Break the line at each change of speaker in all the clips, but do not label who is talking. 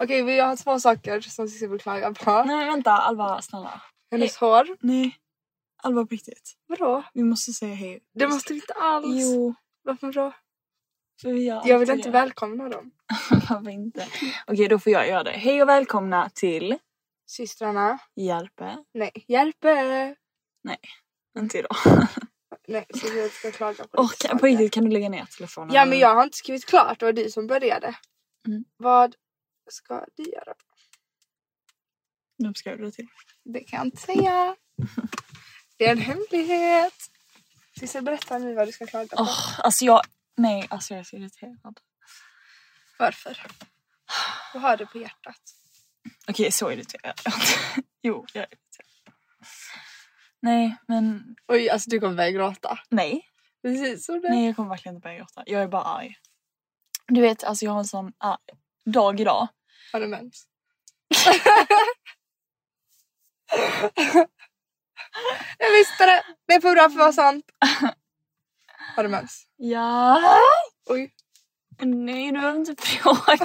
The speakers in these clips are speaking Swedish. Okej, vi har två saker som Cissi vill klaga på.
Nej men vänta Alva snälla.
Hennes hår.
Nej. Alva på riktigt.
Vadå?
Vi måste säga hej.
Det måste vi inte alls.
Jo.
Varför då?
För vi gör
Jag vill
alltid
inte
det.
välkomna dem.
Varför inte? Okej då får jag göra det. Hej och välkomna till
Systrarna.
Järpe.
Nej. Hjälpe!
Inte idag.
Nej, så jag ska klaga på
Och
lite
på
saker.
riktigt kan du lägga ner telefonen?
Ja men jag har inte skrivit klart, det var du som började.
Mm.
Vad ska du göra?
Nu ska jag det till.
Det kan jag inte säga. Det är en hemlighet. Cissi berätta nu vad du ska klaga på.
Åh, alltså jag... Nej alltså jag är så irriterad.
Varför? Vad har du på hjärtat?
Okej så irriterad. jo jag är irriterad. Nej men
Oj, alltså du kommer börja gråta.
nej.
Precis som det.
Nej jag kommer verkligen inte börja gråta. Jag är bara arg. Du vet alltså jag har en sån ah, dag idag.
Har du mens? jag visste det! Det är för bra för att vara sant. Har du mens?
Ja.
Oj.
Nej du behöver inte fråga.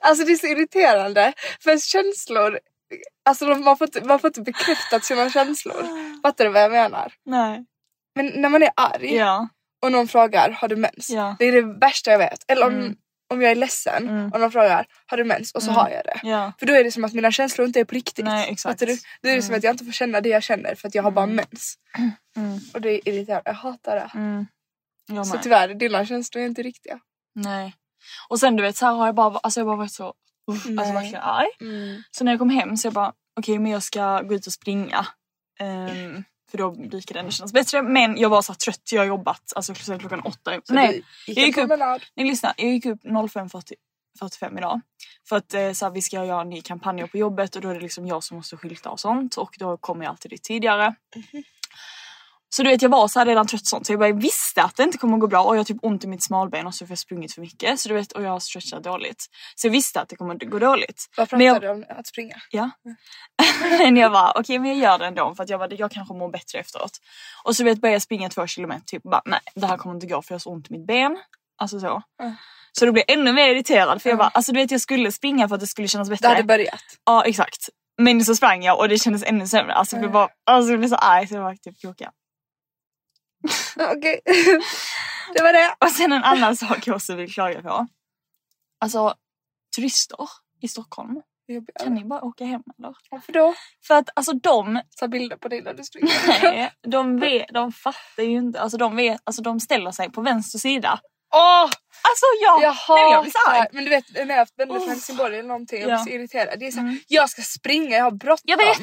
alltså det är så irriterande. För känslor, alltså de, man, får inte, man får inte bekräftat sina känslor. Fattar du vad jag menar?
Nej.
Men när man är arg
Ja.
och någon frågar har du mens?
Ja.
Det är det värsta jag vet. Eller om,
Mm.
om jag är ledsen
Mm.
och någon frågar har du mens? Och så
Mm.
har jag det.
Ja.
För då är det som att mina känslor inte är på riktigt.
Nej, exakt.
Fattar du? Då är det som
Mm.
att jag inte får känna det jag känner för att jag har bara
Mm.
mens.
Mm.
Och det är irriterande. Jag hatar det.
Mm. Jag
Så
med.
tyvärr, dina känslor är inte riktiga.
Nej. Och sen du vet så här har jag bara, alltså jag har bara varit så uff,
Nej.
alltså verkligen arg. Så när jag kom hem så jag bara okej men jag ska gå ut och springa. Ehm, för då brukar det ändå kännas bättre. Men jag var så här trött, jag har jobbat alltså sedan klockan åtta.
Så
Nej.
du
jag
gick
gick
en
upp.
promenad.
Nej lyssna, jag gick upp 05.45 idag. För att eh, så här, vi ska göra en ny kampanj på jobbet och då är det liksom jag som måste skylta och sånt och då kommer jag alltid dit tidigare.
Mhm.
Så du vet jag var så här redan trött och sånt så jag bara visste att det inte kommer gå bra och jag har typ ont i mitt smalben och så har jag sprungit för mycket så du vet och jag har stretchat dåligt. Så jag visste att det kommer gå dåligt.
Vad pratade
Men jag-
du om? Att springa?
Ja.
Mm.
men jag bara okej men jag gör det ändå för att jag bara jag kanske mår bättre efteråt. Och så vet började jag springa två kilometer typ och bara nej det här kommer inte gå för jag har så ont i mitt ben. Alltså så.
Mm.
Så då blev jag ännu mer irriterad för jag
Mm.
bara alltså du vet jag skulle springa för att det skulle kännas
Det
bättre.
hade börjat.
Ja exakt. Men så sprang jag och det kändes ännu sämre. Alltså jag blev
Mm.
bara alltså jag blev så arg så jag var typ kroka.
Okej. det var det.
Och sen en annan sak jag också vill klaga på. Alltså turister i Stockholm. Kan
Jobbigare.
ni bara åka hem eller?
Varför då?
För att alltså de
Ta bilder på dig när du springer.
Nej, de, vet, de fattar ju inte. Alltså de, vet, alltså de ställer sig på vänster sida.
Åh!
Alltså jag,
Jag
nej, jag blir så
hatar...
arg.
Men du vet när jag har haft vänner
Oh.
från Helsingborg eller någonting, jag
Ja.
blir så irriterad. Det är så här,
Mm.
jag ska springa, jag har bråttom.
Jag vet!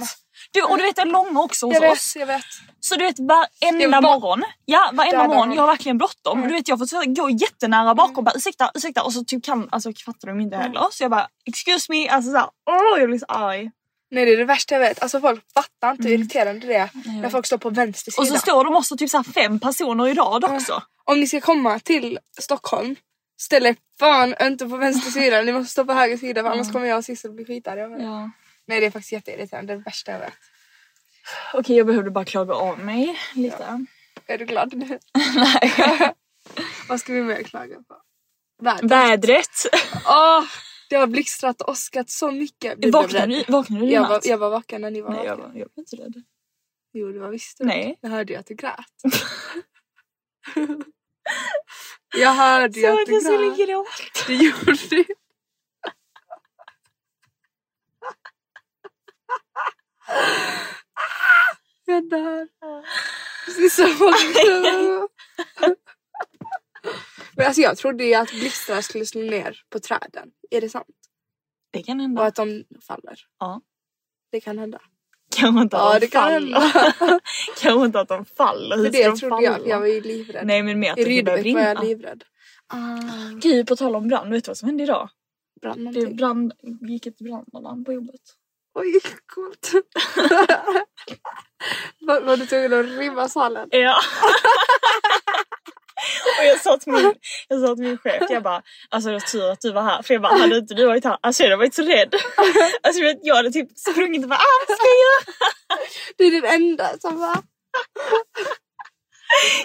Du, och du vet jag är långa också hos
Jag vet,
oss.
jag vet.
Så du vet
Jag
varenda
vill bara-
morgon, ja varenda
Döda
morgon,
dem.
jag har verkligen bråttom.
Mm.
Du vet jag får så här gå jättenära bakom bara ursäkta,
Mm.
ursäkta och så typ kan, alltså fattar de inte heller. Så jag bara excuse me, alltså såhär, åh jag blir så arg.
Nej det är det värsta jag vet. Alltså folk fattar inte hur
Mm.
irriterande det är när folk står på vänster sida.
Och så står de också typ så här fem personer i rad
Mm.
också.
Om ni ska komma till Stockholm, ställ er fan inte på vänster sida. Ni måste stå på höger sida för annars kommer jag och Sissel bli skitarga. över det.
Ja.
Nej det är faktiskt jätteirriterande. Det är det värsta jag vet.
Okej jag behövde bara klaga av mig lite.
Är du glad nu?
Nej.
Vad ska vi mer klaga på? Vädret.
Vädret.
Åh, det har blixtrat och åskat så mycket. Du blev
Vaknade
rädd.
du, vaknade du i
Jag var,
natt?
jag var vaken när ni var
Nej jag
vakna.
var, jag blev inte rädd.
Jo det var visst det.
Nej.
Jag hörde ju att du grät. jag hörde ju
Så
att
att
du
jag skulle
grät.
gråta.
Det gjorde du. Jag dör. Precis som också. Men alltså jag trodde ju att blixtar skulle slå ner på träden. Är det sant?
Det kan
Och
hända.
att de faller.
Ja.
Det kan hända.
Kanske inte att
Ja,
de
det kan
faller. Kanske inte att de faller. Hur
För det
ska de
trodde jag,
falla?
för jag var ju livrädd.
Nej men mer att
I
det började
Rydbeck var
brinna.
jag livrädd. Ah,
Gud på tal om brand, vet du vad som hände idag?
brann
Det
någonting.
brand, gick ett brandalarm på jobbet.
Oj, coolt. var, var du tvungen att rymma salen?
Ja. Och jag sa till min, jag sa till min chef, jag bara alltså det var tur att du var här för jag bara hade inte du varit här, alltså jag var inte så rädd. Alltså jag, vet, jag hade typ sprungit och bara ah vad ska jag göra?
Du är den enda som bara...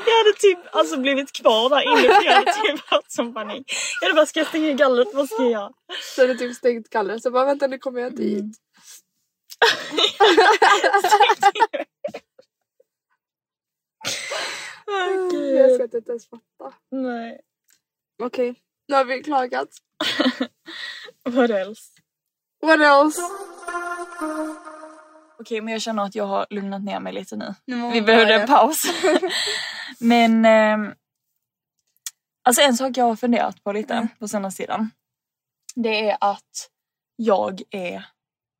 Jag hade typ alltså blivit kvar där inne för jag hade typ haft som panik. Jag hade bara ska jag stänga gallret, vad ska jag göra?
Så hade typ stängt gallret så bara vänta nu kommer jag inte hit.
Åh,
Ah, Jag
Gud.
ska inte ens fatta.
Nej.
Okej, nu har vi klagat.
Vad else?
What else?
Okej men jag känner att jag har lugnat ner mig lite nu.
Nu må
Vi
man
behövde
göra
en
Mm, det.
paus. Men ehm, alltså en sak jag har funderat på lite på senaste tiden. Det är att jag är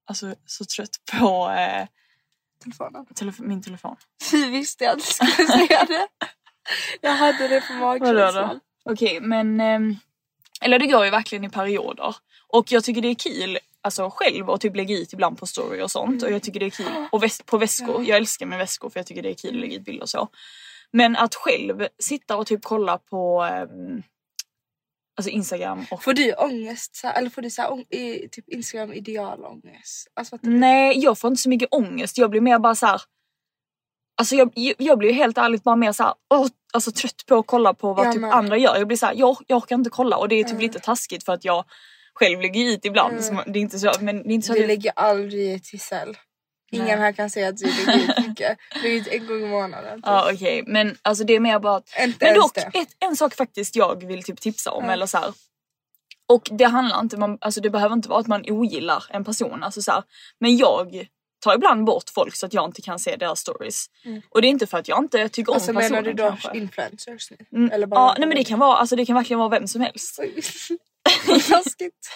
alltså, så trött på eh,
telefonen.
telef- min telefon.
Fy visste jag att du skulle säga det. Jag hade det på magkänslan.
Okej men, ehm, eller det går ju verkligen i perioder. Och jag tycker det är kul alltså själv att typ lägga ut ibland på story och sånt. Och jag tycker det är kul, och väs- på väskor. Jag älskar med väskor för jag tycker det är kul att lägga ut bilder och så. Men att själv sitta och typ kolla på ehm, alltså Instagram och
Får du ångest? Så här, eller får du så här, ång- i, typ Instagram idealångest? Alltså att
Nej, jag får inte så mycket ångest. Jag blir mer bara så här. Alltså jag, jag blir helt ärligt bara mer så här, åh, alltså trött på att kolla på vad
Jag
typ
med.
andra gör. Jag blir så här, jag, jag orkar inte kolla och det är typ lite taskigt för att jag själv lägger ut ibland. Så man- det är inte så, men det är inte så att
du
jag,
lägger aldrig i Tissel. Ingen
Nej.
här kan säga att du lägger ut mycket. Du lägger ut en gång i månaden. typ.
Ja okej men alltså det är mer bara att...
Inte
men
ens
dock
det.
ett, en sak faktiskt jag vill typ tipsa om eller så här. Och det handlar inte, man, alltså det behöver inte vara att man ogillar en person. Alltså så här, men jag tar ibland bort folk så att jag inte kan se deras stories. Och det är inte för att jag inte tycker om
Mm. Alltså
personen
menar du då
kanske.
influencers nu?
Mm,
Eller bara
ja, nej men det kan vara, alltså det kan verkligen vara vem som helst.
Oj, vad Taskigt.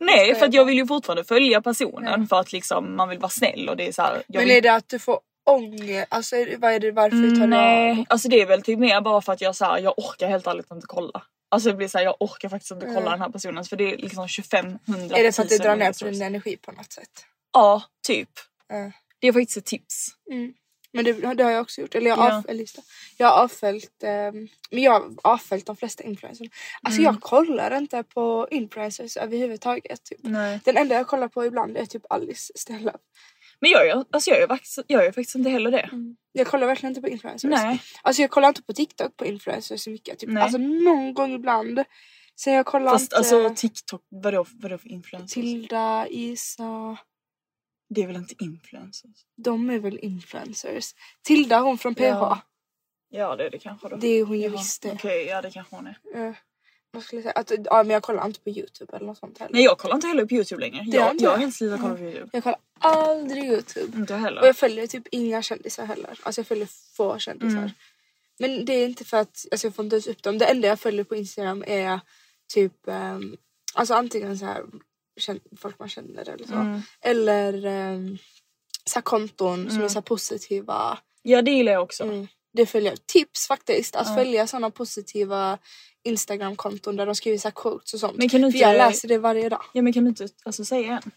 Nej för att jag vill ju fortfarande följa personen för att liksom man vill vara snäll och det är så här, jag
Men
vill
är det att du får ångest? Alltså är det- vad är det varför du tar av?
Nej, alltså det är väl typ mer bara för att jag så här, jag orkar helt ärligt inte kolla. Alltså det blir såhär, jag orkar faktiskt inte kolla den här personen för det är liksom 2500
Mm. Är det för att du
1000
drar ner på
resources.
din energi på något sätt?
Ja, typ.
Ja.
Det är faktiskt ett tips.
Men det, det har jag också gjort. Eller jag har,
Ja.
avf- eller just det. jag har avföljt ehm, men jag har avföljt de flesta influencers. Alltså
Mm.
jag kollar inte på influencers överhuvudtaget. Typ.
Nej.
Den enda jag kollar på ibland är typ Alice Stella.
Men jag gör, alltså jag gör, faktiskt, jag gör faktiskt inte heller det.
Jag kollar verkligen inte på influencers.
Nej.
Alltså jag kollar inte på TikTok på influencers så mycket. Typ.
Nej.
Alltså någon gång ibland. Sen jag kollar
Fast
inte
alltså TikTok, vadå, vadå för influencers?
Tilda, Isa.
Det är väl inte influencers?
De är väl influencers? Tilda hon från PH.
Ja. Ja det är det kanske då.
Det är hon ju
ja,
visst det.
Okej, ja det kanske hon är.
Eh, vad skulle jag säga? Att, ja, men jag kollar inte på youtube eller något sånt heller.
Nej jag kollar inte heller på youtube längre.
gör
Jag,
inte
jag
jag.
har helt slutat kolla på youtube.
Jag kollar aldrig youtube.
Inte jag heller.
Och jag följer typ inga kändisar heller. Alltså jag följer få kändisar.
Mm.
Men det är inte för att alltså jag får inte ens upp dem. Det enda jag följer på Instagram är typ ehm, alltså antingen så här kän- folk man känner eller så.
Mm.
Eller ehm, så här konton
Mm.
som är så här positiva.
Ja det gillar jag också.
Det följer jag. tips faktiskt. Att följa sådana positiva Instagram-konton där de skriver så här quotes och sånt.
Men kan du
För jag
inte-
läser det varje dag.
Ja men kan du inte alltså, säga en?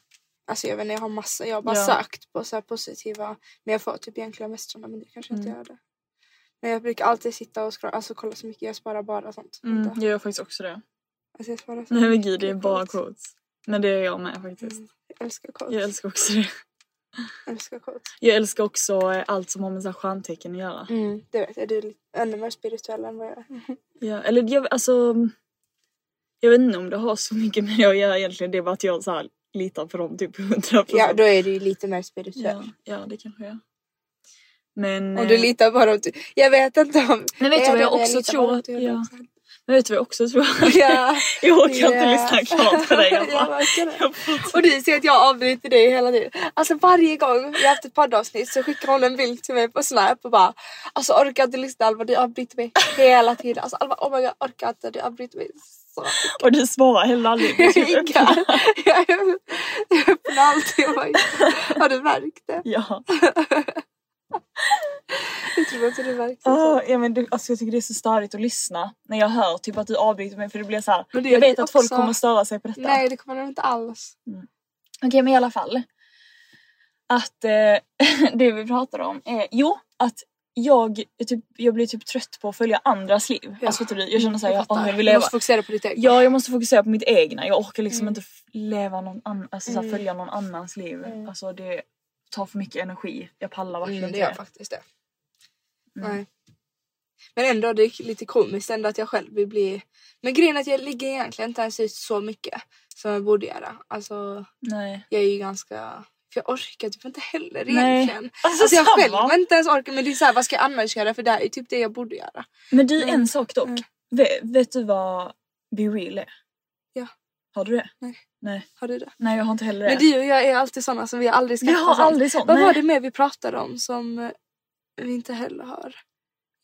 Alltså jag vet inte, jag har massa. Jag har bara
Ja.
sökt på så här positiva. Men jag får typ egentligen mest sådana men det kanske
Mm.
inte gör det. Men jag brukar alltid sitta och scrolla, alltså kolla så mycket. Jag sparar bara sånt.
Mm,
Inte.
jag gör faktiskt också det.
Alltså jag sparar sånt.
Nej men gud det är bara quotes. Men det är jag med faktiskt.
Jag älskar quotes.
Jag älskar också det.
Jag älskar quotes.
Jag älskar också eh, allt som har med så här stjärntecken att göra.
Mm. Det vet jag, du är lite- ännu mer spirituell än vad jag är.
Ja, eller jag, alltså, jag vet inte om det har så mycket med det att göra egentligen. Det är bara att jag så här, litar på dem typ 100%.
Ja, då är du ju lite mer
ja,
spirituell.
ja det kanske jag är. Men,
Om du
eh,
litar på dem. Du, jag vet inte om...
Men vet du
är
vad
det
jag
när
också
litar på
tror
dem
att-
till
ja.
100%?
men vet du vad jag också tror?
Ja.
jag orkar inte
Ja.
lyssna klart på dig. Jag
Jag
bara,
märker det.
jag får-
Och du ser att jag avbryter dig hela tiden. Alltså varje gång vi har haft ett poddavsnitt så skickar hon en bild till mig på snap och bara Alltså orkar inte lyssna Alva, du avbryter mig hela tiden. Alltså Alva, oh my god, orkar inte, du avbryter mig så
och du svarar heller aldrig. Du typ
mycket.
öppnar-
Jag är- jag öppnar alltid. Jag bara, Har du märkt det?
Ja.
Jag tror inte du märkte det.
Ah, ja men det, alltså jag tycker det är så störigt att lyssna när jag hör typ att du avbryter mig för det blir så här.
Men det
jag
gör
vet
det
att folk
också.
kommer störa sig på detta.
Nej det kommer de inte alls.
Okej men i alla fall. Att eh, det vi pratar om är, jo att jag, är typ, jag blir typ trött på att följa andras liv.
Ja.
Alltså, fattar du? jag känner såhär, jag,
fattar.
åh, jag vill
Du
leva.
måste fokusera på ditt eget.
Ja jag måste fokusera på mitt egna. Jag orkar liksom
Mm.
inte f- leva någon annan, alltså, såhär,
Mm.
följa någon annans liv.
Mm.
Alltså det tar för mycket energi. Jag pallar verkligen
Mm, det
inte Mm.
gör faktiskt det. Nej. Men ändå, det är lite komiskt ändå att jag själv vill bli... Men grejen är att jag ligger egentligen inte ens ut så mycket som jag borde göra. Alltså,
Nej.
jag är ju ganska... För jag orkar typ inte heller
Nej.
egentligen.
Alltså,
Alltså, jag
samma.
själv har inte ens orkar. Men det är såhär, vad ska jag annars göra? För det här är typ det jag borde göra.
Men du
Nej.
en sak dock.
Nej.
Vet, vet du vad Be Real är?
Ja.
Har du det?
Nej.
Nej,
Har du det?
Nej jag har inte heller det.
Men du och jag är alltid såna som vi aldrig ska
Jag har aldrig sånt.
Vad
nej.
var det mer vi pratade om som eh, vi inte heller har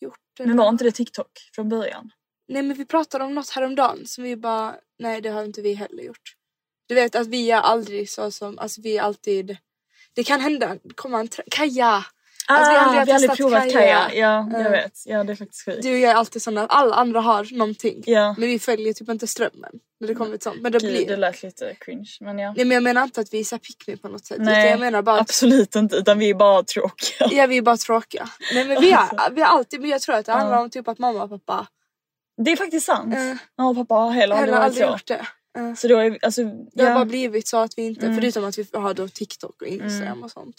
gjort? eller?
Men var inte det TikTok från början?
Nej men vi pratade om något häromdagen som vi bara, nej det har inte vi heller gjort. Du vet att vi är aldrig så som, alltså vi är alltid, det kan hända, komma en tra- Kaja! Att Alltså, vi
Ah,
aldrig har testat
provat
kaja.
kaja. Ja, jag
Mm.
vet. Ja, det är faktiskt sjukt.
Du och jag är alltid sådana, alla andra har någonting.
Ja.
Men vi följer typ inte strömmen när det kommer till sånt. Men det
Gud, det
blir...
lät lite cringe. Men ja.
Nej men jag menar inte att vi är så här pick me på något sätt. utan jag menar bara att
absolut inte. Utan vi är bara tråkiga.
ja, vi är bara tråkiga. Nej men vi är, vi är alltid, men jag tror att det handlar
Ja.
om typ att mamma och pappa
Det är faktiskt sant.
Mm.
Ja, och pappa har heller aldrig
heller
varit
aldrig
så.
gjort det. Eh,
Så då är vi, alltså,
Det har bara
ja.
blivit så att vi inte,
Mm.
förutom att vi har då TikTok och Instagram och sånt.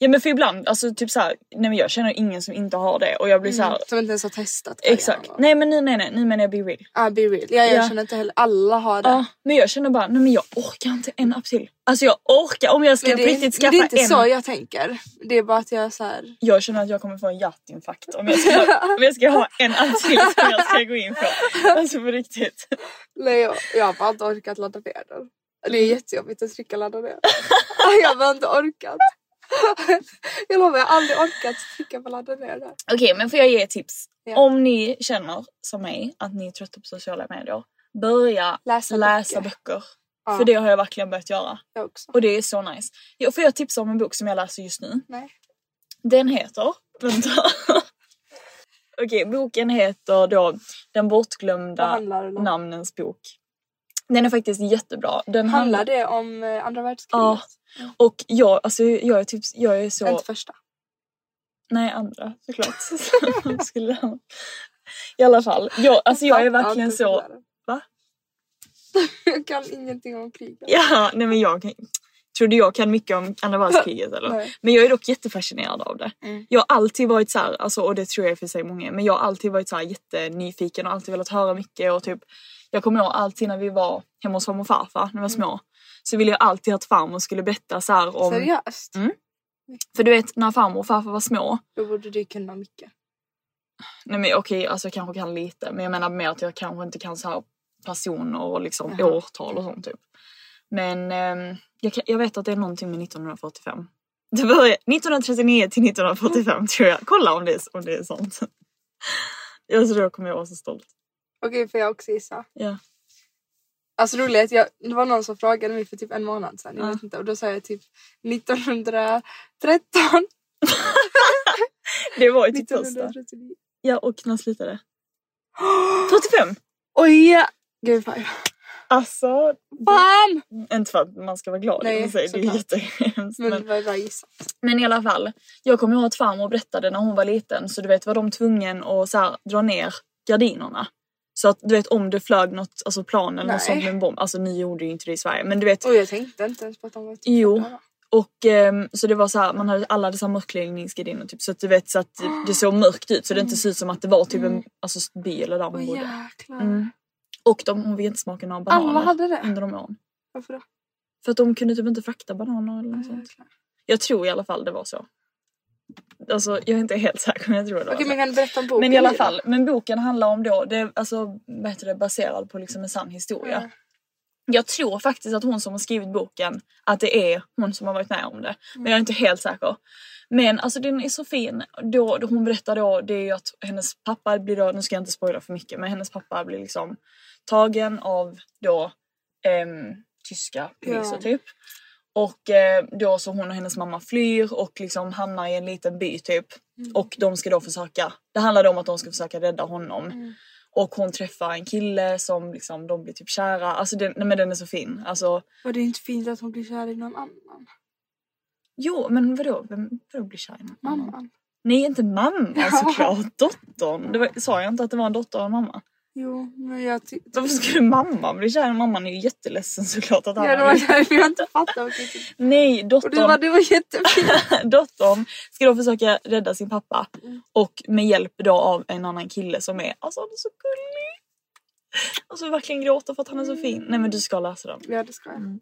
ja men för ibland, alltså typ såhär, nej men jag känner ingen som inte har det och jag blir så såhär,
Som inte ens har testat. karriären
exakt.
och-
Nej men nu, nej nej, nu menar jag be real.
Ja, Ah, be real. Ja, jag
Ja.
känner inte heller, alla har det.
Ja, men jag känner bara, nej men jag orkar inte en app till. Alltså jag orkar, om jag ska
men
på
det, är,
riktigt skaffa
men det är inte
en.
så jag tänker. Det är bara att jag så här.
Jag känner att jag kommer få en hjärtinfarkt om jag ska, om jag ska ha en app till som jag ska gå in på. Alltså på riktigt.
Nej, jag, jag har bara inte orkat ladda ner den. Det är
Mm.
jättejobbigt att trycka ladda ner. jag har bara inte orkat. jag lovar, jag har aldrig orkat trycka på ladda ner den.
Okej men får jag ge ett tips?
Ja.
Om ni känner som mig att ni är trötta på sociala medier. Börja
Läsa
läsa,
böcker.
böcker.
Ja.
För det har jag verkligen börjat göra.
Jag också.
Och det är så nice. Jag får jag tipsa om en bok som jag läser just nu?
Nej.
Den heter... Vänta. Okej, boken heter då Den
Vad
bortglömda
handlar den om?
namnens bok. Den är faktiskt jättebra. Den
Handlar det om eh, andra världskriget?
Ja. Och jag, alltså jag är typ, jag är så...
Inte första.
Nej, andra såklart. Jag skulle... I alla fall. Jag, alltså jag är
Fattar
verkligen
inte
så...
skillnaden.
Va?
Jag kan ingenting om kriget.
Ja, nej men jag kan... Trodde jag kan mycket om andra världskriget eller?
Nej.
Men jag är dock jättefascinerad av det. Jag har alltid varit så här, alltså, och det tror jag i och för sig många är, men jag har alltid varit så här jättenyfiken och alltid velat höra mycket och typ jag kommer ihåg alltid när vi var hemma hos farmor och farfar när vi var små så ville jag alltid att farmor skulle berätta så här om...
Seriöst?
Mm. För du vet när farmor och farfar var små
Då borde du kunna mycket.
Nej men okej, alltså jag kanske kan lite men jag menar mer att jag kanske inte kan så här personer och liksom
Jaha.
årtal och sånt typ. Men ehm, jag, kan, jag vet att det är någonting med 1945. Det börjar 1939 till 1945
Mm.
tror jag. Kolla om det är, om det är sånt. Alltså då kommer jag vara så stolt.
Okej, får jag också gissa?
Ja.
Alltså roligt, att jag, det var någon som frågade mig för typ en månad sedan, jag
Ja.
vet inte, och då sa jag typ 1913,
Det var ju typ första.
1939.
Ja och när slutade det? 45!
Oj! Gud fan.
Alltså,
Fan!
inte för att man ska vara glad
Nej,
i och för sig, det är
såklart.
jättehemskt.
Men det
Men,
var ju bara gissat.
men i alla fall, jag kommer ihåg att farmor berättade när hon var liten så du vet var de tvungen att så här, dra ner gardinerna. Så att du vet om det flög något, alltså planen eller
Nej.
något sånt med en bomb. Alltså ni gjorde ju inte det i Sverige men du vet
Och jag tänkte inte ens på att de var typ
Jo.
sådana.
Och ehm, så det var så här, man hade alla hade samma mörkläggningsgardiner typ så att du vet så att det såg mörkt ut så
Mm.
det inte ser ut som att det var typ en alltså, by eller där hon
Åh
bodde.
jäklar.
Mm. Och de, hon fick inte smaka några bananer
Alla hade det?
under de åren.
Varför då?
För att de kunde typ inte frakta bananer eller något sånt.
Jäklar.
Jag tror i alla fall det var så. Alltså jag är inte helt säker men jag tror det var
Okej
så.
men kan du berätta om boken?
Men i alla
nu då?
fall, men boken handlar om då, det är alltså vad heter det, baserad på liksom en sann historia.
Mm.
Jag tror faktiskt att hon som har skrivit boken, att det är hon som har varit med om det. Men jag är inte helt säker. Men alltså den är så fin. Då, då hon berättar då, det är ju att hennes pappa blir då, nu ska jag inte spoila för mycket, men hennes pappa blir liksom tagen av då ehm, tyska poliser
Ja.
typ. Och eh, då så hon och hennes mamma flyr och liksom hamnar i en liten by typ.
Mm.
Och de ska då försöka, det handlar då om att de ska försöka rädda honom.
Mm.
Och hon träffar en kille som liksom, de blir typ kära. Alltså den, nej, men den är så fin. Alltså,
Var det inte fint att hon blir kär i någon annan?
jo men vadå, vem vadå blir kär i någon annan?
Mamman?
Nej inte mamman såklart, dottern. Det var, sa jag inte att det var en dotter och en mamma?
Jo men jag tyckte...
Varför skulle mamman bli kär i en mamman? är ju jätteledsen såklart att han
Ja det
har
var
blivit-
därför jag inte fattade. vad det var.
Nej,
Och du bara
dottern,
det var jättefint.
dottern ska då försöka rädda sin pappa.
Mm.
Och med hjälp då av en annan kille som är, alltså han är så gullig. Alltså verkligen gråter för att han är så fin.
Mm.
Nej men du ska läsa den.
Ja det ska jag.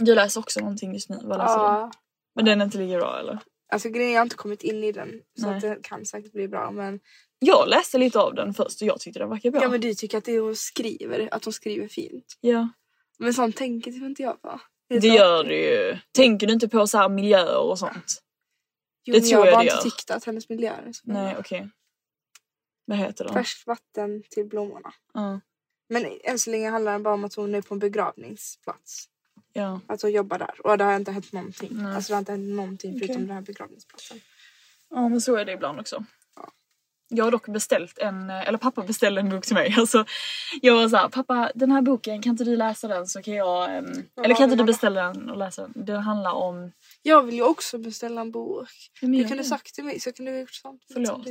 Du läser också någonting just nu, vad läser du?
Ja.
Men den är inte lika bra eller?
Alltså grejen är, jag har inte kommit in i den så
Nej.
att det kan säkert bli bra men
Jag läste lite av den först och jag tyckte den verkade bra.
Ja men du tycker att det hon skriver, att hon skriver fint.
Ja.
Men sånt tänker typ inte jag på. är
Det
så-
gör du ju. Tänker du inte på så här miljöer och sånt?
Mm. jo,
det
men
tror
jag
jag
bara
det
inte
gör.
tyckt att hennes miljö är så bra.
Nej okej. Vad heter den?
Färskt vatten till blommorna.
Ja.
Men än så länge handlar det bara om att hon är på en begravningsplats.
ja.
Att hon jobbar där. Och det har inte hänt någonting.
Nej.
Alltså det har inte hänt någonting förutom
Okej.
den här begravningsplatsen.
Ja men så är det ibland också. Jag har dock beställt en, eller pappa beställde en bok till mig. Alltså, jag var såhär, pappa den här boken kan inte du läsa den så kan jag, ehm,
Ja,
eller kan inte
men
du
mamma-
beställa den och läsa den? Den handlar om,
Jag vill ju också beställa en bok.
Ja, men
Du
gör
kunde
det.
sagt till mig så kunde vi gjort sånt.
Förlåt.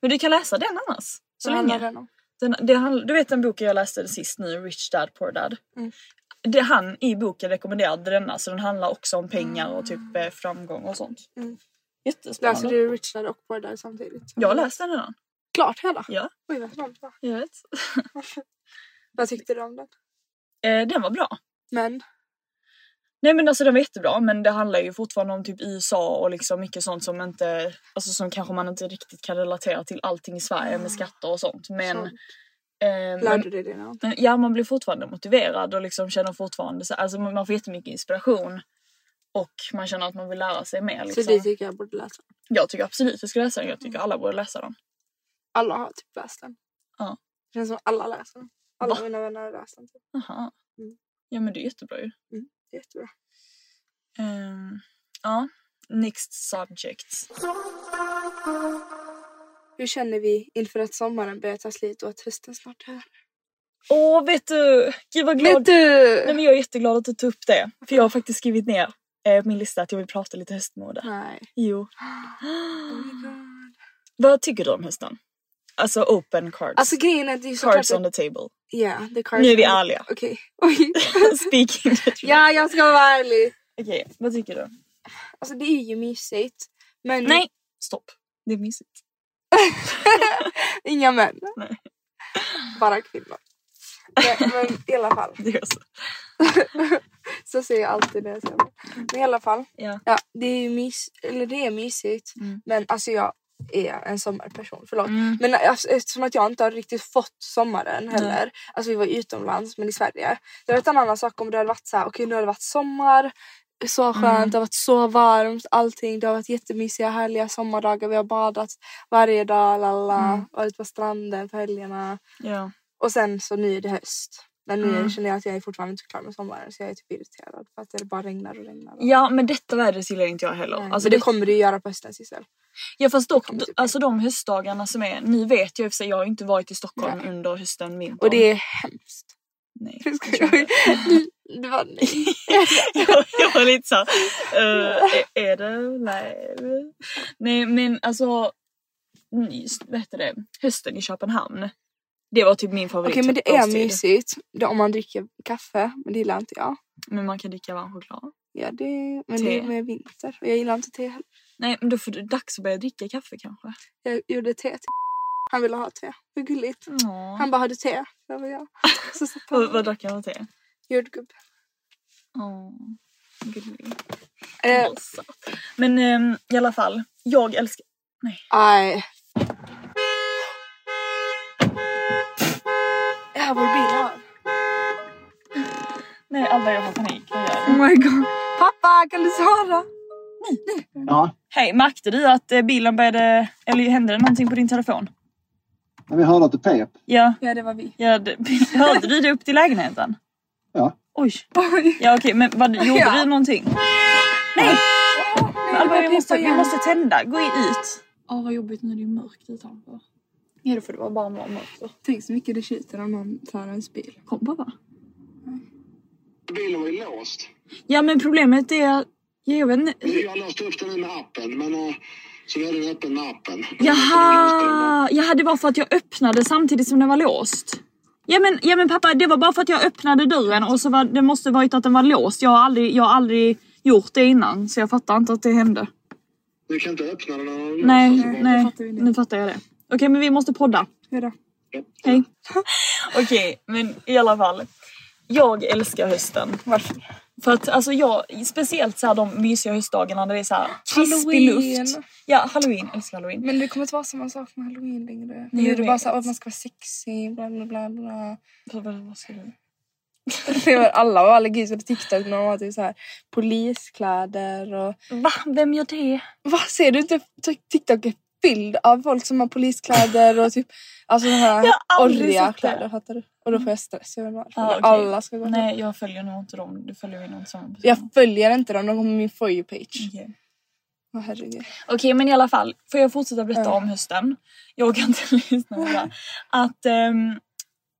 men du kan läsa den annars. Så
Så länge.
länge.
Den om.
Den, det handl- du vet den boken jag läste sist nu, Rich Dad Poor Dad?
Mm.
Det, han i boken rekommenderade denna så den handlar också om pengar och typ eh, framgång och sånt.
Mm.
Jättespännande.
Läser du Richard och Poor Dad samtidigt?
Jag läste den redan.
Klart hela?
Ja,
Oj vad snabbt det var.
jag vet.
Vad tyckte du om den?
Eh, den var bra.
Men
Nej men alltså den var jättebra men det handlar ju fortfarande om typ USA och liksom mycket sånt som inte, alltså som kanske man inte riktigt kan relatera till allting i Sverige med skatter och sånt. Men,
Så.
eh, men
lärde du dig det någon?
Men ja, man blir fortfarande motiverad och liksom känner fortfarande så, alltså man man får jättemycket inspiration och man känner att man vill lära sig mer.
Så
Liksom.
det tycker Mm. jag borde läsa.
Jag tycker absolut vi ska läsa den. Jag tycker alla borde läsa den.
Alla har typ läst den.
Ja.
Det känns som alla läser den. Alla
Va?
mina vänner har läst den. Typ.
Aha.
Mm.
Ja, men det är jättebra ju.
Det är jättebra.
Ehm, ja, next subject.
Hur känner vi inför att sommaren börjar ta slut och att hösten snart är här?
Åh, vet du! Gud vad glad.
Vet du?
Nej, men jag är jätteglad att du tog upp det. För jag har faktiskt skrivit ner eh, på min lista att jag vill prata lite höstmode.
Nej.
Jo.
Oh my God.
Vad tycker du om hösten? Alltså open cards.
Alltså grejen är att det är såklart...
cards on the table.
Ja, det är cards
Nu är vi
on the-
ärliga.
Okej. Oj.
Speaking the truth.
ja, jag ska vara ärlig.
Okej, vad tycker du?
Alltså det är ju mysigt. Men
Nej! Stopp. Det är mysigt.
inga män.
Nej.
Bara kvinnor. Men, men i alla fall.
Det är så.
Så säger jag alltid det jag säger. Men i alla fall.
Ja.
Ja, det är ju mys- eller det är mysigt. Men alltså jag är en sommarperson, förlåt. Men alltså, eftersom att jag inte har riktigt fått sommaren heller. Alltså vi var utomlands men i Sverige. Det var en annan sak om det hade varit så här, okej nu har det varit sommar. Så skönt, det har varit så varmt, allting. Det har varit jättemysiga härliga sommardagar. Vi har badat varje dag, lalla. Varit på stranden på helgerna.
Ja.
Och sen så nu är det höst. Men nu
Mm.
känner jag att jag är fortfarande inte klar med sommaren så jag är typ irriterad för att det bara regnar och regnar.
ja, men detta vädret gillar inte jag heller.
Nej,
alltså,
men det
det
kommer du göra på hösten Sissel.
ja, fast dock,
kommer typ-
alltså de höstdagarna som är, nu vet jag i och för sig, jag har ju inte varit i Stockholm under hösten, vintern.
Och det är hemskt.
Nej.
Du skojar. Det var nej.
jag, jag var lite såhär, eh, är, är det? Nej. Nej men alltså, just, vad heter det, hösten i Köpenhamn. Det var typ min favorit
Okej men det är
årstid.
mysigt det, om man dricker kaffe men det gillar inte jag.
Men man kan dricka varm choklad.
Ja, det, men det är
Te.
med vinter och jag gillar inte te heller.
Nej men då får du dags att börja dricka kaffe kanske.
Jag gjorde te till Han ville ha te. Hur gulligt.
Ja.
Han bara hade te. Det var jag. Så satt
Vad, vad
han
drack han för te?
jordgubb.
Åh, gullig.
Eh,
Åh, söt. Men ehm, i alla fall, jag älskar... Nej.
aj. Ja, vår bil här.
Nej, alla jag har panik. Jag gör det.
Oh my god. Pappa kan du svara?
Ja,
Hej, märkte du att eh, bilen började... Eller hände det någonting på din telefon?
men vi hörde att det pep.
Ja,
Ja det var vi.
ja det, hörde du det upp till lägenheten?
Ja.
Oj.
Oj.
Ja okej, men vad, gjorde
Ja.
du någonting? Nej!
Men
Alba, vi måste, vi
igen.
måste tända. Gå ut.
Åh vad jobbigt när det är mörkt utanför.
Ja, då får det vara bara om också.
Tänk så mycket det tjuter om någon tar ens bil. Kom pappa.
Bilen var ju låst.
Ja, men problemet är... Ja, jag vet inte.
Jag låste upp den med appen, men eh, så vi hade den öppen med appen.
Jaha! Jaha, det var för att jag öppnade samtidigt som den var låst. Ja men, ja men pappa, det var bara för att jag öppnade dörren och så var, det måste varit att den var låst. Jag har, aldrig, jag har aldrig gjort det innan så jag fattar inte att det hände.
Du kan inte öppna den när den
Nej,
låst, alltså.
nej,
fattar vi det.
nu fattar jag det. Okej men vi måste podda.
Hejdå.
Hej. Okej, men i alla fall. Jag älskar hösten.
Varför?
För att alltså jag, speciellt så här de mysiga höstdagarna när det är så här krispig
Halloween.
luft. Ja, halloween. Älskar halloween.
Men det kommer inte vara samma sak med halloween längre.
Nej,
Nu är det
jag
bara
vet.
såhär att man ska vara sexy, bla bla bla bla.
Vad- vad- vad ska du-
Det var alla var allergi på TikTok när de har typ såhär poliskläder och...
Va? Vem gör det?
Vad ser du inte Ty- TikTok är fylld av folk som har poliskläder och typ alltså de här
Jag har aldrig
orriga
sett det.
kläder fattar du? Och då får jag stress över varför
Ja, okej.
alla ska gå med.
Nej, jag följer nog inte dem. Du följer ju någon sån. person.
Jag följer inte dem, de kommer på min for you page.
Okej.
Åh herregud.
Okej, men i alla fall. Får jag fortsätta berätta
Ja.
om hösten? Jag kan inte lyssna på det. här. Att, ehm,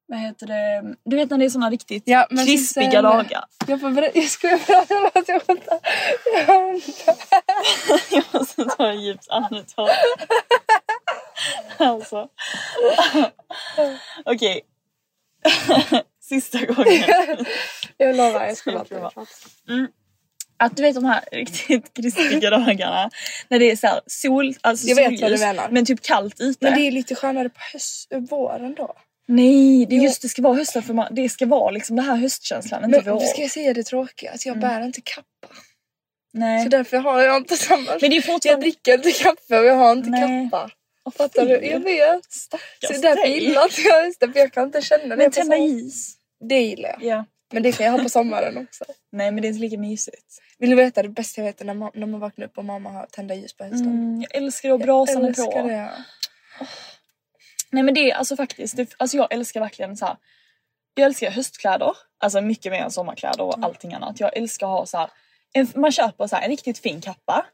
vad heter det? Du vet när det är såna riktigt
Ja, men
krispiga
sen-
dagar.
Jag får berätta, jag skulle berätta något, jag skämtar. Jag skämtar.
jag måste ta en djupt andetag. alltså. Okej. Sista gången.
Jag lovar, jag skulle
Skulle
inte
vara.
prata.
Mm. Att du vet de här riktigt krispiga dagarna. När det är så här sol, alltså
Jag vet vad du
solljus,
menar.
men typ kallt ute.
Men det är lite skönare på höst, våren då.
Nej, det är
Jo.
just det ska vara hösten för man, det ska vara liksom den här höstkänslan, inte
Men
vår. Mm.
ska jag säga det tråkiga? Att jag bär inte kappa.
Nej.
Så därför har jag inte samma.
Men det är
Jag
fortfarande...
dricker inte kaffe och jag har inte
Nej.
kappa. Fattar du? Jag vet. Så
Stackars
därför
dig.
gillar inte jag hösten för jag kan inte känna det.
Men
på
tända
sommaren.
is.
Det gillar jag.
Ja.
Men det kan jag ha på sommaren också.
Nej men det är inte lika mysigt.
Vill du veta det bästa jag vet är när, ma- när man vaknar upp och mamma har tända ljus på hösten.
Mm, jag älskar det och
Jag
brasan är
älskar
på.
det.
Nej men det är alltså faktiskt, det, alltså jag älskar verkligen så här. Jag älskar höstkläder, alltså mycket mer än sommarkläder
Mm.
och allting annat. Jag älskar att ha så här, en, man köper så här, en riktigt fin kappa.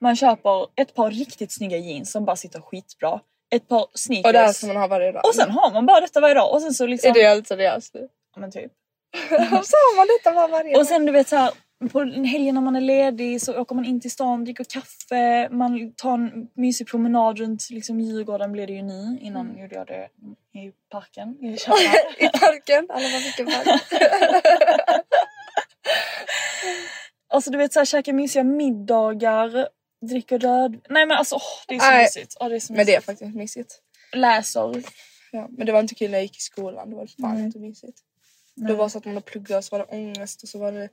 Man köper ett par riktigt snygga jeans som bara sitter skitbra. Ett par sneakers.
Och det här som man har varje dag.
Och sen har man bara detta varje dag och sen så liksom...
Är det alltså det alltså?
Ja, men typ.
Så har man detta var varje dag.
Och sen du vet så här, på en helg när man är ledig så åker man in till stan, dricker kaffe, man tar en mysig promenad runt liksom Djurgården blev det ju ni. Innan
Mm.
gjorde jag det i parken i Köpenhamn.
I parken. Alla var vilken park.
Alltså du vet såhär käka mysiga middagar, dricker röd... Nej men alltså åh, det är så
Nej.
mysigt. Ja, det är så
Men det är
mysigt.
faktiskt mysigt.
Läser.
Ja, men det var inte kul när jag gick i skolan. Det var fan
Nej.
inte mysigt. Det var så att man har pluggat och så var det ångest och så var det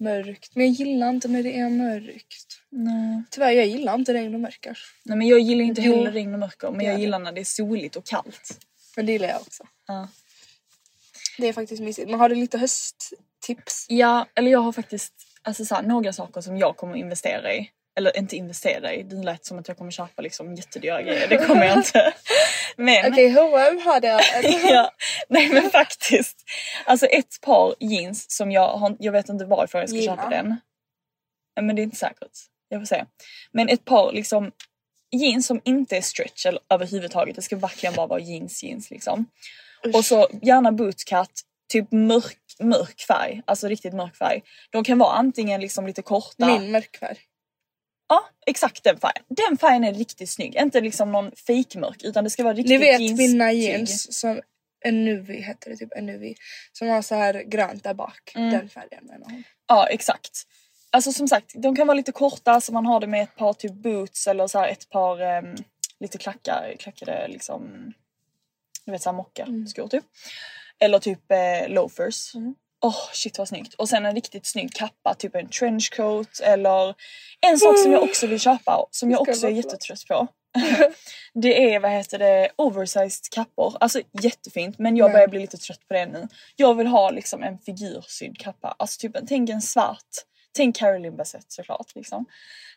mörkt. Men jag gillar inte när det är mörkt.
Nej.
Tyvärr, jag gillar inte regn och mörker.
Nej men jag gillar inte
Jo.
heller regn och mörker men jag
det.
gillar när det är soligt och kallt.
Men det gillar jag också.
Ja.
Det är faktiskt mysigt. Men har du lite hösttips?
Ja, eller jag har faktiskt alltså, så här, några saker som jag kommer investera i. Eller inte investera i, det lät som att jag kommer köpa liksom jättedyra grejer, det kommer jag inte. Men,
Okej, H&M har det.
ja, nej men faktiskt. Alltså ett par jeans som jag har, jag vet inte varför jag ska
Gilla.
köpa den. Ja, Men det är inte säkert, jag får se. Men ett par liksom jeans som inte är stretch eller, överhuvudtaget, det ska verkligen bara vara jeans jeans liksom. Och så gärna bootcut, typ mörk, mörk färg, alltså riktigt mörk färg. De kan vara antingen liksom lite korta.
Min mörkfärg.
Ja, exakt den färgen. Den färgen är riktigt snygg. Inte liksom någon fake-mörk utan det ska vara riktigt
Ni vet
jeans-
mina
tyg.
jeans som Enuvi heter det typ, Enuvi. Som har så här grönt där bak.
Mm.
Den färgen menar hon.
Ja, exakt. Alltså som sagt, de kan vara lite korta så man har det med ett par typ boots eller så här ett par ehm, lite klackar, klackade liksom, du vet såhär
Mm.
mockaskor typ. Eller typ eh, loafers. Åh shit vad snyggt. Och sen en riktigt snygg kappa, typ en trenchcoat eller en sak som jag också vill köpa som jag
Mm. ska
också är
vara
jättetrött på. det är vad heter det, oversized kappor. Alltså jättefint men jag börjar bli lite trött på det nu. Jag vill ha liksom en figursydd kappa. Alltså typ en, tänk en svart. Tänk Caroline Bassett såklart liksom.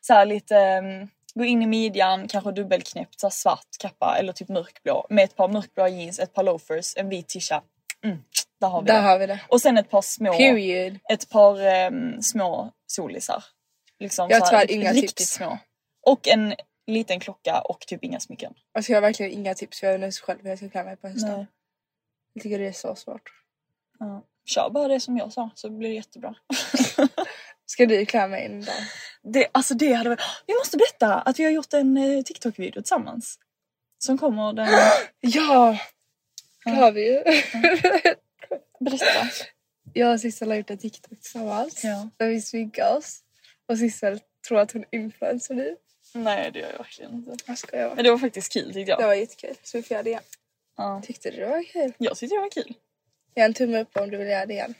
Så här lite, ehm, gå in i midjan, kanske dubbelknäppt, så här svart kappa eller typ mörkblå. Med ett par mörkblå jeans, ett par loafers, en vit tisha. Mm, där har vi
Där
det.
har vi det.
Och sen ett par små,
Period.
ett par ehm, små solisar. Liksom
Jag
så här
tror
riktigt-
inga
riktigt
tips.
små. Och en liten klocka och typ inga smycken.
Alltså jag har verkligen inga tips för jag vet inte ens själv hur jag ska klä mig på hösten. Jag tycker det är så svårt.
Ja. Kör bara det som jag sa så blir det jättebra.
Ska du klä mig en dag?
Det, alltså det hade varit... Vi måste berätta att vi har gjort en eh, TikTok-video tillsammans. Som kommer den...
Ja! Det har vi ju.
Berätta.
Jag och Sissel har gjort en TikTok tillsammans.
Ja.
Där vi sminkar oss. Och Sissel tror att hon är influencer nu.
Nej det gör jag verkligen inte.
Jag skojar
Men
bara.
det var faktiskt kul tyckte jag.
Det var jättekul. Så vi får göra det igen.
Ja.
Tyckte du det var kul?
Jag tyckte det var kul.
Ge en tumme upp om du vill göra det igen.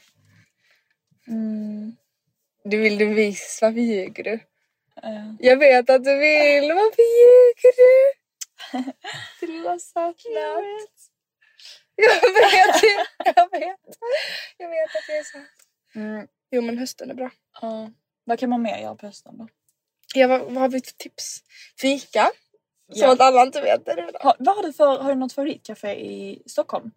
Mm. Du vill du visa, varför ljuger du?
Eh,
Jag vet att du vill, varför ljuger du? Du lilla sötnöt. Jag vet, jag vet. Jag vet att det är sant.
Mm.
Jo men hösten är bra.
ja. vad kan man mer göra på hösten då?
Ja, vad, vad har vi för tips? Fika. Som
Ja.
att alla inte vet det redan.
Har, vad har, du för, har du något favoritcafé i Stockholm?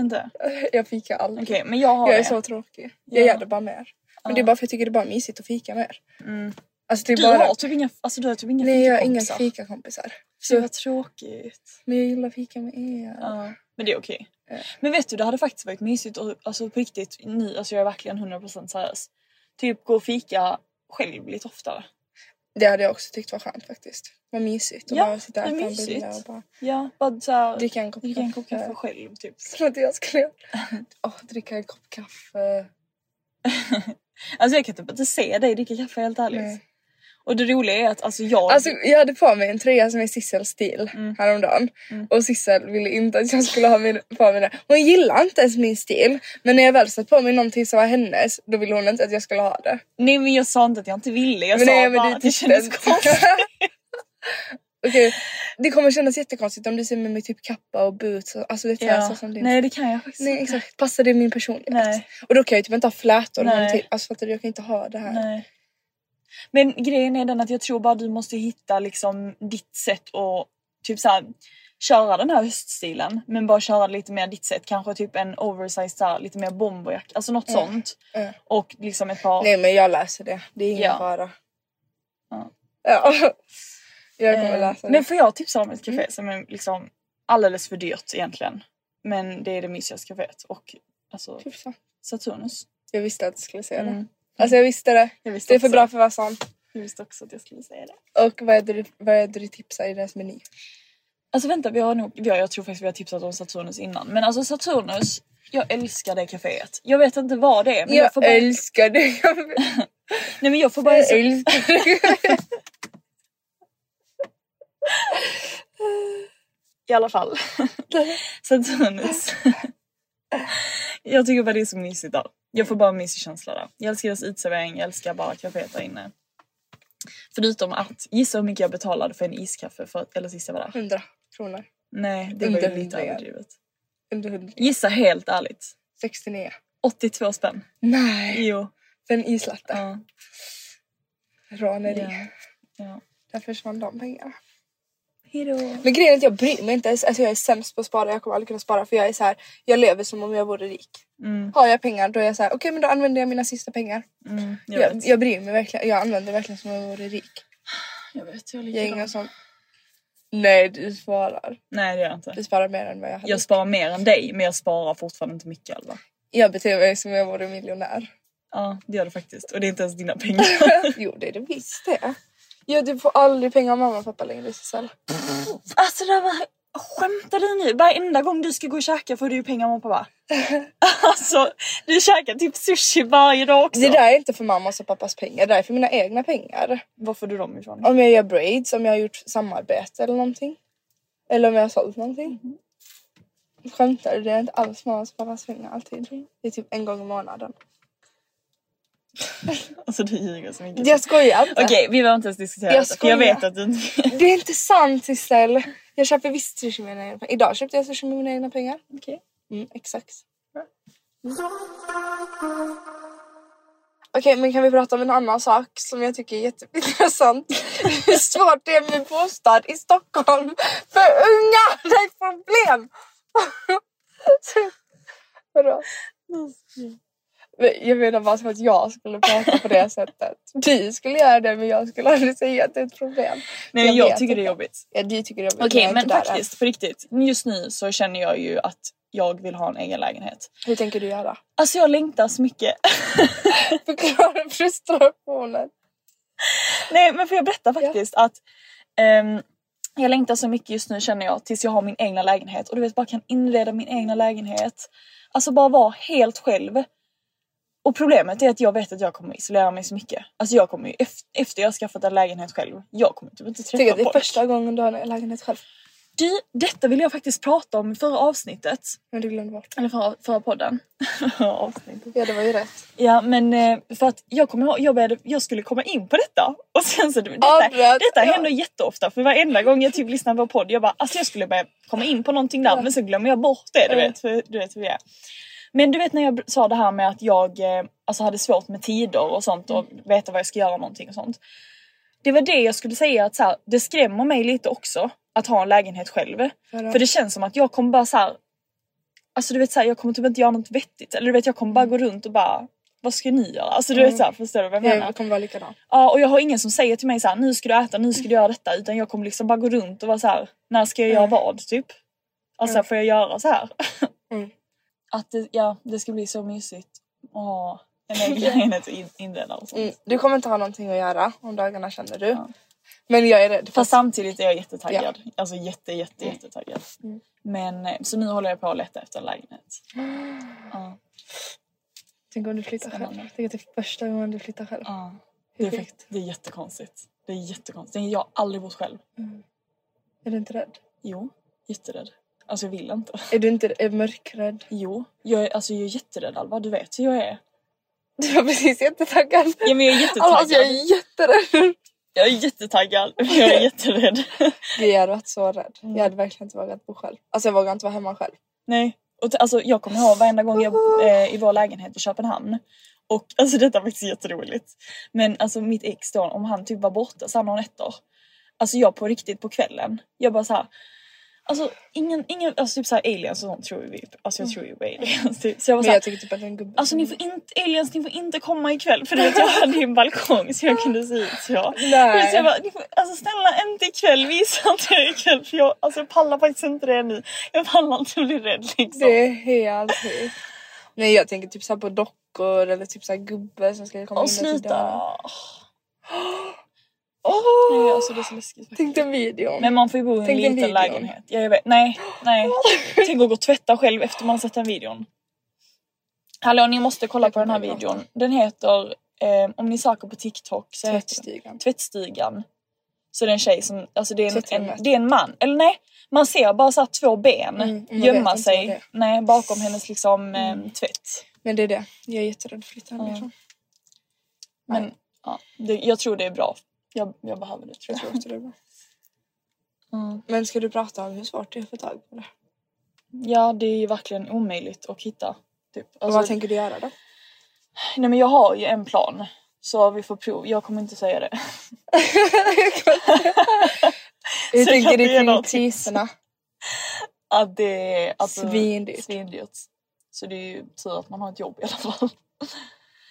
Inte?
Jag fikar aldrig.
Okej men jag har
Jag är
det.
så tråkig. Jag
Ja.
gör det bara mer. Men det är bara för att jag tycker det är bara mysigt att fika mer.
Mm.
Alltså det är
Du
bara...
har typ inga, alltså du har typ inga
Nej jag har inga
fikakompisar.
fikakompisar.
Fy vad tråkigt.
Men jag gillar fika med er.
Ja, men det är okej. Men vet du, det hade faktiskt varit mysigt och alltså på riktigt, ni, alltså jag är verkligen 100% seriös. Typ gå och fika själv lite oftare.
Det hade jag också tyckt var skönt faktiskt. Vad mysigt att
Ja,
bara sitta
det
och
är
äta en
mysigt.
bulle och bara
Ja, bara såhär.
dricka en kopp
dricka en kopp kaffe
kaffe.
själv typ.
Som att jag skulle göra. Åh, dricka en kopp kaffe.
Alltså jag kan typ inte se dig dricka kaffe helt ärligt.
Nej.
Och det roliga är att alltså jag...
Alltså jag hade på mig en tröja som är Sissels stil häromdagen. Och Sissel ville inte att jag skulle ha min, på mig den. Hon gillar inte ens min stil. Men när jag väl satt på mig någonting som var hennes då ville hon inte att jag skulle ha det.
Nej men jag sa inte att jag inte ville, jag
Men
sa
nej, men
bara
du
att det
tyckte
kändes
inte.
konstigt.
Okej, det kommer kännas jättekonstigt om du ser mig med typ kappa och boots. och- Alltså det är
ja.
så som din
Nej det kan jag faktiskt
Nej
inte.
exakt, passar det min personlighet?
Nej.
Och då kan jag ju typ inte ha flätor
Nej.
Nej. till. Alltså fattar du, jag kan inte ha det här.
Nej. Men grejen är den att jag tror bara du måste hitta liksom ditt sätt och typ så här, köra den här höststilen men bara köra lite mer ditt sätt. Kanske typ en oversized så här, lite mer bomberjacka, alltså något sånt.
mm.
Och liksom ett par...
Nej men jag läser det, det är ingen
Ja.
fara.
Ja.
Ja. Jag kommer
eh,
läsa det. Mm.
men får jag tipsa om ett café som är liksom alldeles för dyrt egentligen. Men det är det mysigaste caféet och alltså
Typ så.
Saturnus.
Jag visste att du skulle säga
Mm.
det. Alltså jag visste det.
Jag visste
det är för
också.
bra för att vara sant.
Jag visste också att jag skulle säga det.
Och vad är det du, vad är det du tipsar i deras meny?
Alltså vänta, vi har nog, ja, jag tror faktiskt vi har tipsat om Saturnus innan. Men alltså Saturnus, jag älskar det kaféet. Jag vet inte vad det är men jag,
Jag,
får bara...
älskar det.
Nej men jag får bara...
jag älskar det.
I alla fall. Saturnus. jag tycker bara det är så mysigt där. Jag får bara en mysig känsla där. Jag älskar deras uteservering, jag älskar bara kaféet där inne. Förutom att, gissa hur mycket jag betalade för en iskaffe för, eller sist jag var där?
100 kronor.
Nej, det var ju
Inte
lite
mer.
överdrivet.
Under 100.
Gissa helt ärligt.
69.
82 spänn.
Nej.
Jo.
För en islatte.
Ja.
Råneri.
Ja. ja.
Där försvann de pengarna.
Hejdå.
Men grejen är att jag bryr mig inte ens. Alltså jag är sämst på att spara. Jag kommer aldrig kunna spara för jag är så här. Jag lever som om jag vore rik. Har jag pengar då är jag så här. Okej men då använder jag mina sista pengar.
Mm, jag,
Jag,
vet.
jag bryr mig verkligen. Jag använder verkligen som om jag vore rik.
jag vet, jag är
Jag är
likadan.
ingen sån Nej du sparar.
Nej det gör jag inte.
Du sparar mer än vad jag hade.
Jag sparar mer än dig men jag sparar fortfarande inte mycket Alva.
Jag beter mig som om jag vore miljonär.
Ja det gör du faktiskt och det är inte ens dina pengar.
jo det är det visst det. Ja du får aldrig pengar av mamma och pappa längre Sissel.
alltså det var... Skämtar du nu? Varenda gång du ska gå och käka får du ju pengar av mamma och pappa. alltså du käkar typ sushi varje dag också.
Det där är inte för mammas och pappas pengar, det där är för mina egna pengar.
Var får du dem ifrån?
Om jag gör braids, om jag har gjort samarbete eller någonting. Eller om jag har sålt någonting. Skämtar du? Det är inte alls mammas och pappas pengar alltid. Det är typ en gång i månaden.
Alltså du ljuger så mycket.
Jag skojar inte.
Okej vi behöver inte ens diskutera
Jag
detta för jag
skojar.
vet att du inte...
Det är inte sant Sissel! Jag köper visst sushi med mina egna pengar. Idag köpte jag sushi med mina egna pengar.
Okej.
Mm, exakt. Okej men kan vi prata om en annan sak som jag tycker är jätteintressant. Hur svårt det är med bostad i Stockholm för unga! Det är ett problem! Vadå? Men Jag menar bara som att jag skulle prata på det sättet. Du skulle göra det men jag skulle aldrig säga att det är ett problem.
Nej men
Jag
jag,
vet
tycker det är
inte.
jobbigt.
Ja, du tycker det är jobbigt,
Okej
jag är
men
inte där än.
faktiskt på riktigt. Just nu så känner jag ju att jag vill ha en egen lägenhet.
Hur tänker du göra?
Alltså jag längtar så mycket.
Förklara frustrationen.
Nej men får jag berätta faktiskt att ehm, jag längtar så mycket just nu känner jag tills jag har min egna lägenhet och du vet bara kan inreda min egna lägenhet. Alltså bara vara helt själv. Och problemet är att jag vet att jag kommer isolera mig så mycket. Alltså jag kommer ju ef- efter jag har skaffat en lägenhet själv, jag kommer typ inte träffa
Tycker att det är
folk.
första gången du har en lägenhet själv.
Du, detta ville jag faktiskt prata om i förra avsnittet.
Men du glömde bort.
Eller förra, förra podden. avsnittet.
Ja det var ju rätt.
Ja men eh, för att jag kommer ihåg, jag, började, jag skulle komma in på detta och sen så detta,
Avbröt,
detta
ja.
händer jätteofta för varenda gång jag typ lyssnar på podd jag bara alltså jag skulle börja komma in på någonting där men så glömmer jag bort det du vet, för, du vet hur vi är. Men du vet när jag sa det här med att jag eh, alltså hade svårt med tider och sånt och
Mm.
veta vad jag ska göra någonting och sånt. Det var det jag skulle säga att så här, det skrämmer mig lite också att ha en lägenhet själv.
Vadå?
För det känns som att jag kommer bara så här. Alltså du vet så här, jag kommer typ inte göra något vettigt eller du vet jag kommer bara gå runt och bara vad ska ni göra? Alltså du vet så här, förstår du vad jag menar?
Mm. Jag kommer vara likadan.
Ja och jag har ingen som säger till mig så här, nu ska du äta, nu ska du göra detta utan jag kommer liksom bara gå runt och vara så här, när ska jag göra vad typ? Alltså får jag göra så här?
Mm.
Att det, ja, det ska bli så mysigt. Åh, en egen lägenhet och in- inredare och sånt.
Mm. Du kommer inte ha någonting att göra om dagarna känner du. Men jag är rädd. för-
Fast samtidigt är jag jättetaggad. Alltså jätte jätte
Mm.
jättetaggad. Men eh, så nu håller jag på att leta efter en lägenhet.
Tänk om du flyttar själv. Tänk att det är första gången du flyttar själv.
Ja. Det är, fakt- det är jättekonstigt. Det är jättekonstigt. Jag har aldrig bott själv.
Är du inte rädd?
Jo, jätterädd. Alltså jag vill inte.
Är du inte är mörkrädd?
Jo, jag är, alltså jag är jätterädd Alva. Du vet hur jag är.
Du var precis jättetaggad.
Ja, men jag är jättetaggad.
Alltså jag är jätterädd.
Jag är jättetaggad. Jag är jätterädd.
Gud, Jag hade varit så rädd. Jag hade verkligen inte vågat bo själv. Alltså jag vågar inte vara hemma själv.
Nej, Mm. och t- alltså, jag kommer ihåg varenda gång jag eh, i vår lägenhet i Köpenhamn och alltså detta är faktiskt jätteroligt. Men alltså mitt ex då, om han typ var borta så här några nätter. Alltså jag på riktigt på kvällen, jag bara så här. Alltså ingen, ingen, alltså typ såhär aliens och sånt tror ju vi, alltså jag tror ju på aliens typ. Så jag var
Mm. Men
såhär,
jag tycker typ att det är en gubbe.
alltså ni får inte, aliens ni får inte komma ikväll för du vet jag hade ju en balkong så jag kunde se ut så.
Nej.
Så jag bara, ni får, alltså snälla inte ikväll, visa inte er ikväll för jag, alltså jag pallar faktiskt inte det nu. Jag pallar inte bli rädd liksom.
Det är helt sjukt. Nej jag tänker typ såhär på dockor eller typ såhär gubbe som ska komma
Och
in och typ
sluta!
Oh,
Nej, alltså det är så läskigt. faktiskt.
Tänk den videon.
Men man får ju bo i en
Tänk den
liten
videon.
lägenhet. Ja, jag vet. Nej, nej. Tänk att gå och tvätta själv efter man sett den videon. Hallå, ni måste kolla på den här videon. Den heter, eh, om ni söker på TikTok så heter den
Tvättstugan.
Tvättstugan. Så det är en tjej som, alltså det är en,
Tvättrummet.
en, det är en man, eller nej. Man ser bara så här två ben
Mm, man vet
gömma
inte vad det Mm.
sig
är.
nej, bakom hennes liksom eh, tvätt.
Men det är det. Jag är jätterädd för att flytta hemifrån.
Men
Nej.
ja, det, jag tror det är bra. Jag, jag behöver det tror
Jag
jag.
tror också det är bra. Men ska du prata om hur svårt det är att få tag på det?
Ja, det är ju verkligen omöjligt att hitta. Typ.
Och
Alltså,
vad tänker du göra då?
Nej men jag har ju en plan. Så vi får prov. Jag kommer inte säga det.
Hur
Så jag
tänker
kan
du
inte ge något
kring
tips.
priserna?
Att det är alltså,
Svindyrt.
svindyrt. Så det är ju tur att man har ett jobb i alla fall. Mm.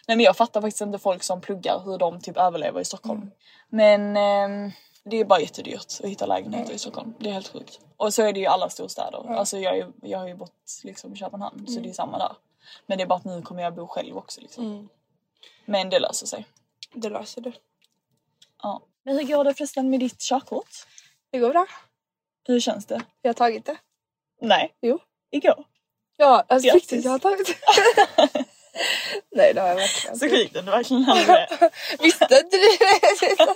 Nej men jag fattar faktiskt inte folk som pluggar hur de typ överlever i Stockholm. Men ehm, det är bara jättedyrt att hitta lägenheter i Stockholm. Det är helt sjukt. Och så är det ju i alla storstäder. Alltså jag, är, ju- jag har ju bott liksom i Köpenhamn så det är samma där. Men det är bara att nu kommer jag bo själv också liksom. Men det löser sig.
Det löser du.
Ja. Men hur går det förresten med ditt körkort?
Det går bra.
Hur känns det?
Jag har tagit det.
Nej.
Jo.
Igår.
Ja, alltså
Grattis.
riktigt, jag har tagit det. Nej, det har jag verkligen
Så
inte.
sjukt att du verkligen hade det.
Visste inte du det?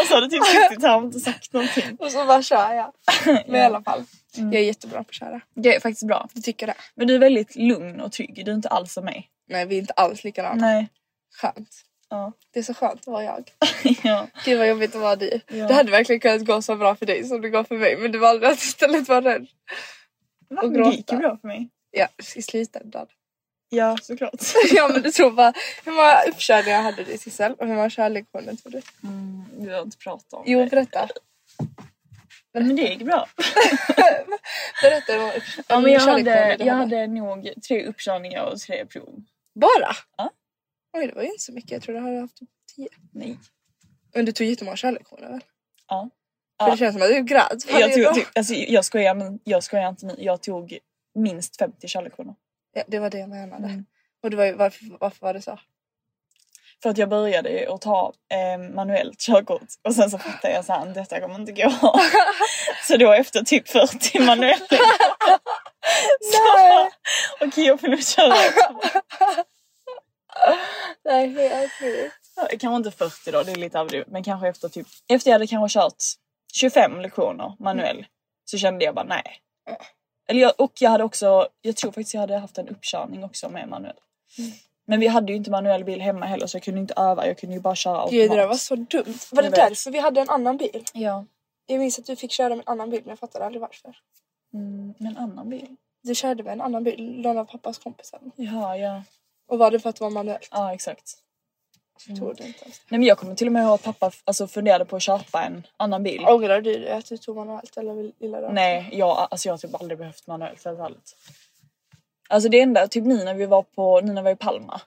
Och så har du typ suttit här och inte sagt någonting.
Och så bara kör jag. Men i alla fall, jag är jättebra på att köra.
Mm. Det är faktiskt bra.
Du tycker det?
Men du är väldigt lugn och trygg. Du är inte alls som mig.
Nej, vi är inte alls likadana.
Nej.
Skönt.
Ja.
Det är så skönt att vara jag.
ja.
Gud vad jobbigt att vara du.
Ja.
Det hade verkligen kunnat gå så bra för dig som det går för mig. Men du valde att istället vara rädd.
Va?
Och
Men Det gick
gråta.
ju bra för mig.
Ja, i slutändan.
Ja, såklart.
ja men du tror bara, hur många uppkörningar hade du Sissel? Och hur många körlektioner tror du?
Vi behöver inte prata om
Jo
det.
berätta.
Men det gick bra.
Berätta hur många upp-
Ja, men
hur
jag,
många körlektioner
hade,
du
jag hade nog tre uppkörningar och tre prov.
Bara?
Ja.
Oj det var ju inte så mycket. Jag tror du hade haft typ tio.
Nej.
Men du tog jättemånga körlektioner väl?
Ja.
För
Ja.
det känns som att du grät. Fan,
Jag,
det är bra.
tog, typ, alltså, jag, skojar, men jag skojar inte nu. Jag tog minst 50 körlektioner.
Ja, det var det jag menade.
Mm.
Och det var ju, varför, varför var det så?
För att jag började ju att ta eh, manuellt körkort och sen så fattade jag såhär, detta kommer inte gå. så då efter typ 40 manuella så okej jag får nog köra.
Nej helt sjukt.
Kanske inte 40 då, det är lite överdrivet. Men kanske efter typ, efter jag hade kanske kört 25 lektioner manuell så kände jag bara nej. Eller jag, och jag hade också, jag tror faktiskt jag hade haft en uppkörning också med manuell. Mm. Men vi hade ju inte manuell bil hemma heller så jag kunde inte öva, jag kunde ju bara köra automat.
Gud det där var så dumt. Var det
Jag vet.
därför vi hade en annan bil?
Ja.
Jag minns att du fick köra med en annan bil men jag fattade aldrig varför.
Mm, med en annan bil?
Du körde med en annan bil, någon av pappas kompisar.
Ja, ja.
Och var det för att det var manuellt?
Ja, exakt.
Så tog du inte ens det.
Nej men jag kommer till och med ihåg att pappa f- alltså, funderade på att köpa en annan bil.
Ångrar du dig att du tog manuellt eller vill- gillar du det?
Nej, jag, alltså, jag har typ aldrig behövt manuellt helt ärligt. Alltså det enda, typ nu när vi var, på, nu när vi var i Palma.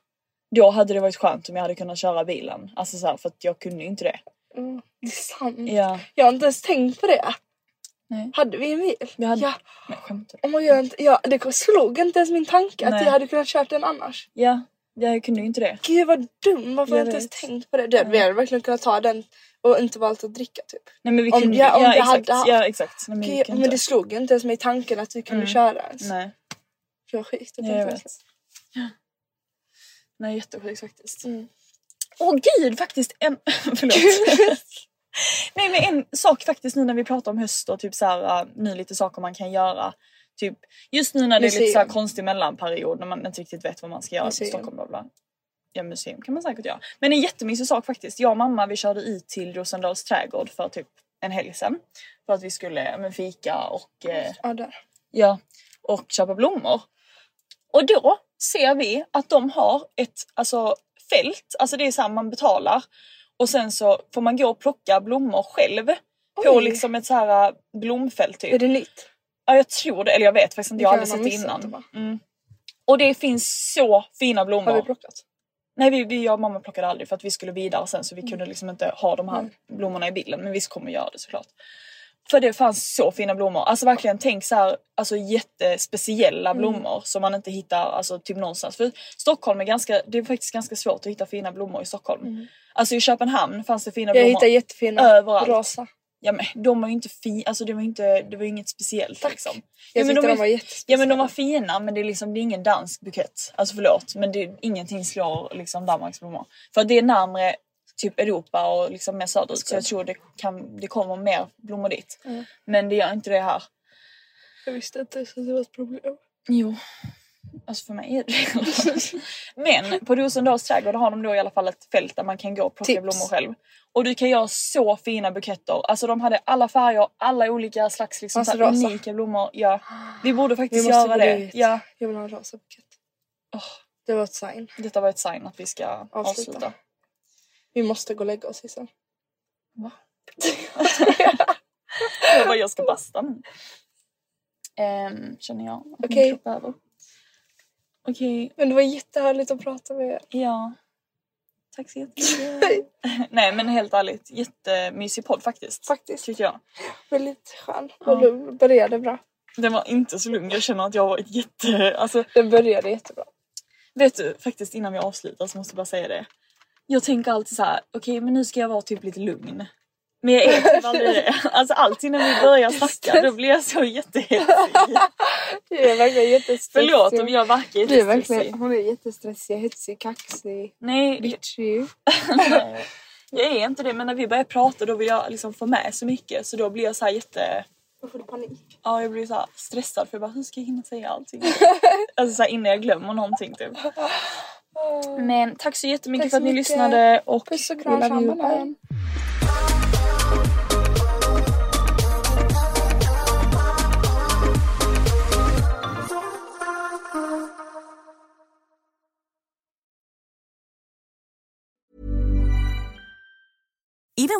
Då hade det varit skönt om jag hade kunnat köra bilen. Alltså så här, för att jag kunde ju inte det.
Mm, det är sant.
Ja.
Jag har inte ens tänkt på det.
Nej.
Hade vi en bil?
Vi hade-
Ja.
Men skämtar du?
Oh my God, ja, det slog inte ens min tanke att
Nej.
jag hade kunnat köra den annars.
Ja, jag kunde ju inte det.
Gud vad dum, varför har jag
Jag
inte ens
vet.
tänkt på det? Du, vi hade verkligen kunnat ta den och inte valt att dricka typ.
Nej men vi
Om
kunde
jag- om
ja,
jag hade
exakt,
haft-
ja exakt. Nej, men vi
Gud,
kunde
men det
inte.
slog ju inte ens mig i tanken att vi kunde
Mm.
köra ens.
Nej,
Det var sjukt. att
jag, jag
inte
vet.
ens-
Nej jättesjukt faktiskt.
Mm.
Åh gud faktiskt en... Förlåt. Nej men en sak faktiskt nu när vi pratar om höst och typ så här, äh, nu lite saker man kan göra. Typ just nu när det är lite
Museum.
så här konstig mellanperiod när man inte riktigt vet vad man ska göra
Museum.
i Stockholm bla bla. Ja museum kan man säkert göra. Men en jättemysig sak faktiskt. Jag och mamma vi körde i till Rosendals trädgård för typ en helg sedan. För att vi skulle ja, men, fika och eh,
Ja, där.
Ja. Och köpa blommor. Och då ser vi att de har ett alltså, fält, alltså det är så här man betalar. Och sen så får man gå och plocka blommor själv. På
Oj.
liksom ett så här äh, blomfält typ.
Är det nytt?
Ja jag tror det, eller jag vet faktiskt inte,
Det
jag har
kan
aldrig
jag
sett
ha
det
missat,
innan.
va?
Mm. Och det finns så fina blommor.
Har vi plockat?
Nej, vi, vi, jag och mamma plockade aldrig för att vi skulle vidare sen
Mm.
så vi kunde liksom inte ha de här blommorna i bilden. Men vi kommer göra det såklart. För det fanns så fina blommor. Alltså verkligen tänk så här, alltså
Mm.
jättespeciella blommor som man inte hittar alltså typ någonstans. För Stockholm är ganska, det är faktiskt ganska svårt att hitta fina blommor i Stockholm. Alltså i Köpenhamn fanns det fina
Mm. Jag
blommor.
hittade jättefina.
Överallt.
Rosa.
Ja men de var ju inte fina, alltså det var ju inte, det var ju inget speciellt
Tack.
liksom.
Jag
ja, men
tyckte de
är-
var jättespeciella.
Ja men de var fina men det är liksom, det är ingen dansk bukett. Alltså förlåt men det, ingenting slår liksom Danmarks blommor. För att det är närmre typ Europa och liksom mer söderut så jag tror det, kan, det kommer mer blommor dit.
Mm.
Men det gör inte det här.
Jag visste inte ens att det var ett problem.
Jo. Alltså för mig är det det Men på Rosendals trädgård har de då i alla fall ett fält där man kan gå och plocka
Tips.
blommor själv. Och du kan göra så fina buketter. Alltså de hade alla färger, alla olika slags liksom,
Massa
så här
rosa.
unika blommor. Ja. Vi borde
Vi
faktiskt
måste
göra
gå
det.
dit.
Ja.
Jag vill ha en rosa bukett.
Åh.
Det var ett sign.
Detta var ett sign att vi ska avsluta.
Vi måste gå och lägga oss Sissel.
Jag bara, jag ska basta nu. Ehm, känner jag. att min
Okej.
kropp behöver. Okej,
Men det var jättehärligt att prata med er.
ja. Tack så jättemycket. Nej men helt ärligt, jättemysig podd faktiskt.
Faktiskt.
Tyckte jag.
Väldigt skön. Och det började bra.
Den var inte så lugn, jag känner att jag har varit jätte... Alltså,
Det började jättebra.
vet du, faktiskt innan vi avslutar så måste jag bara säga det. Jag tänker alltid så här: okej men nu ska jag vara typ lite lugn. Men jag är typ aldrig det. Alltså alltid när vi börjar snacka då blir jag så jättehetsig.
Du är verkligen jättestressig.
Förlåt om jag verkar
Du är
jättestressig.
verkligen, hon är jättestressig, hetsig, kaxig,
Nej,
bitchy.
jag är inte det men när vi börjar prata då vill jag liksom få med så mycket så då blir jag så här jätte...
Då får du panik.
Ja, jag blir så här stressad för jag bara hur ska jag hinna säga allting? alltså så här, innan jag glömmer någonting typ. Men tack så jättemycket
Ah. Tack så
för att ni
mycket.
lyssnade och
Puss och
we
kram,
love you.
kram alla.
Bye.
Even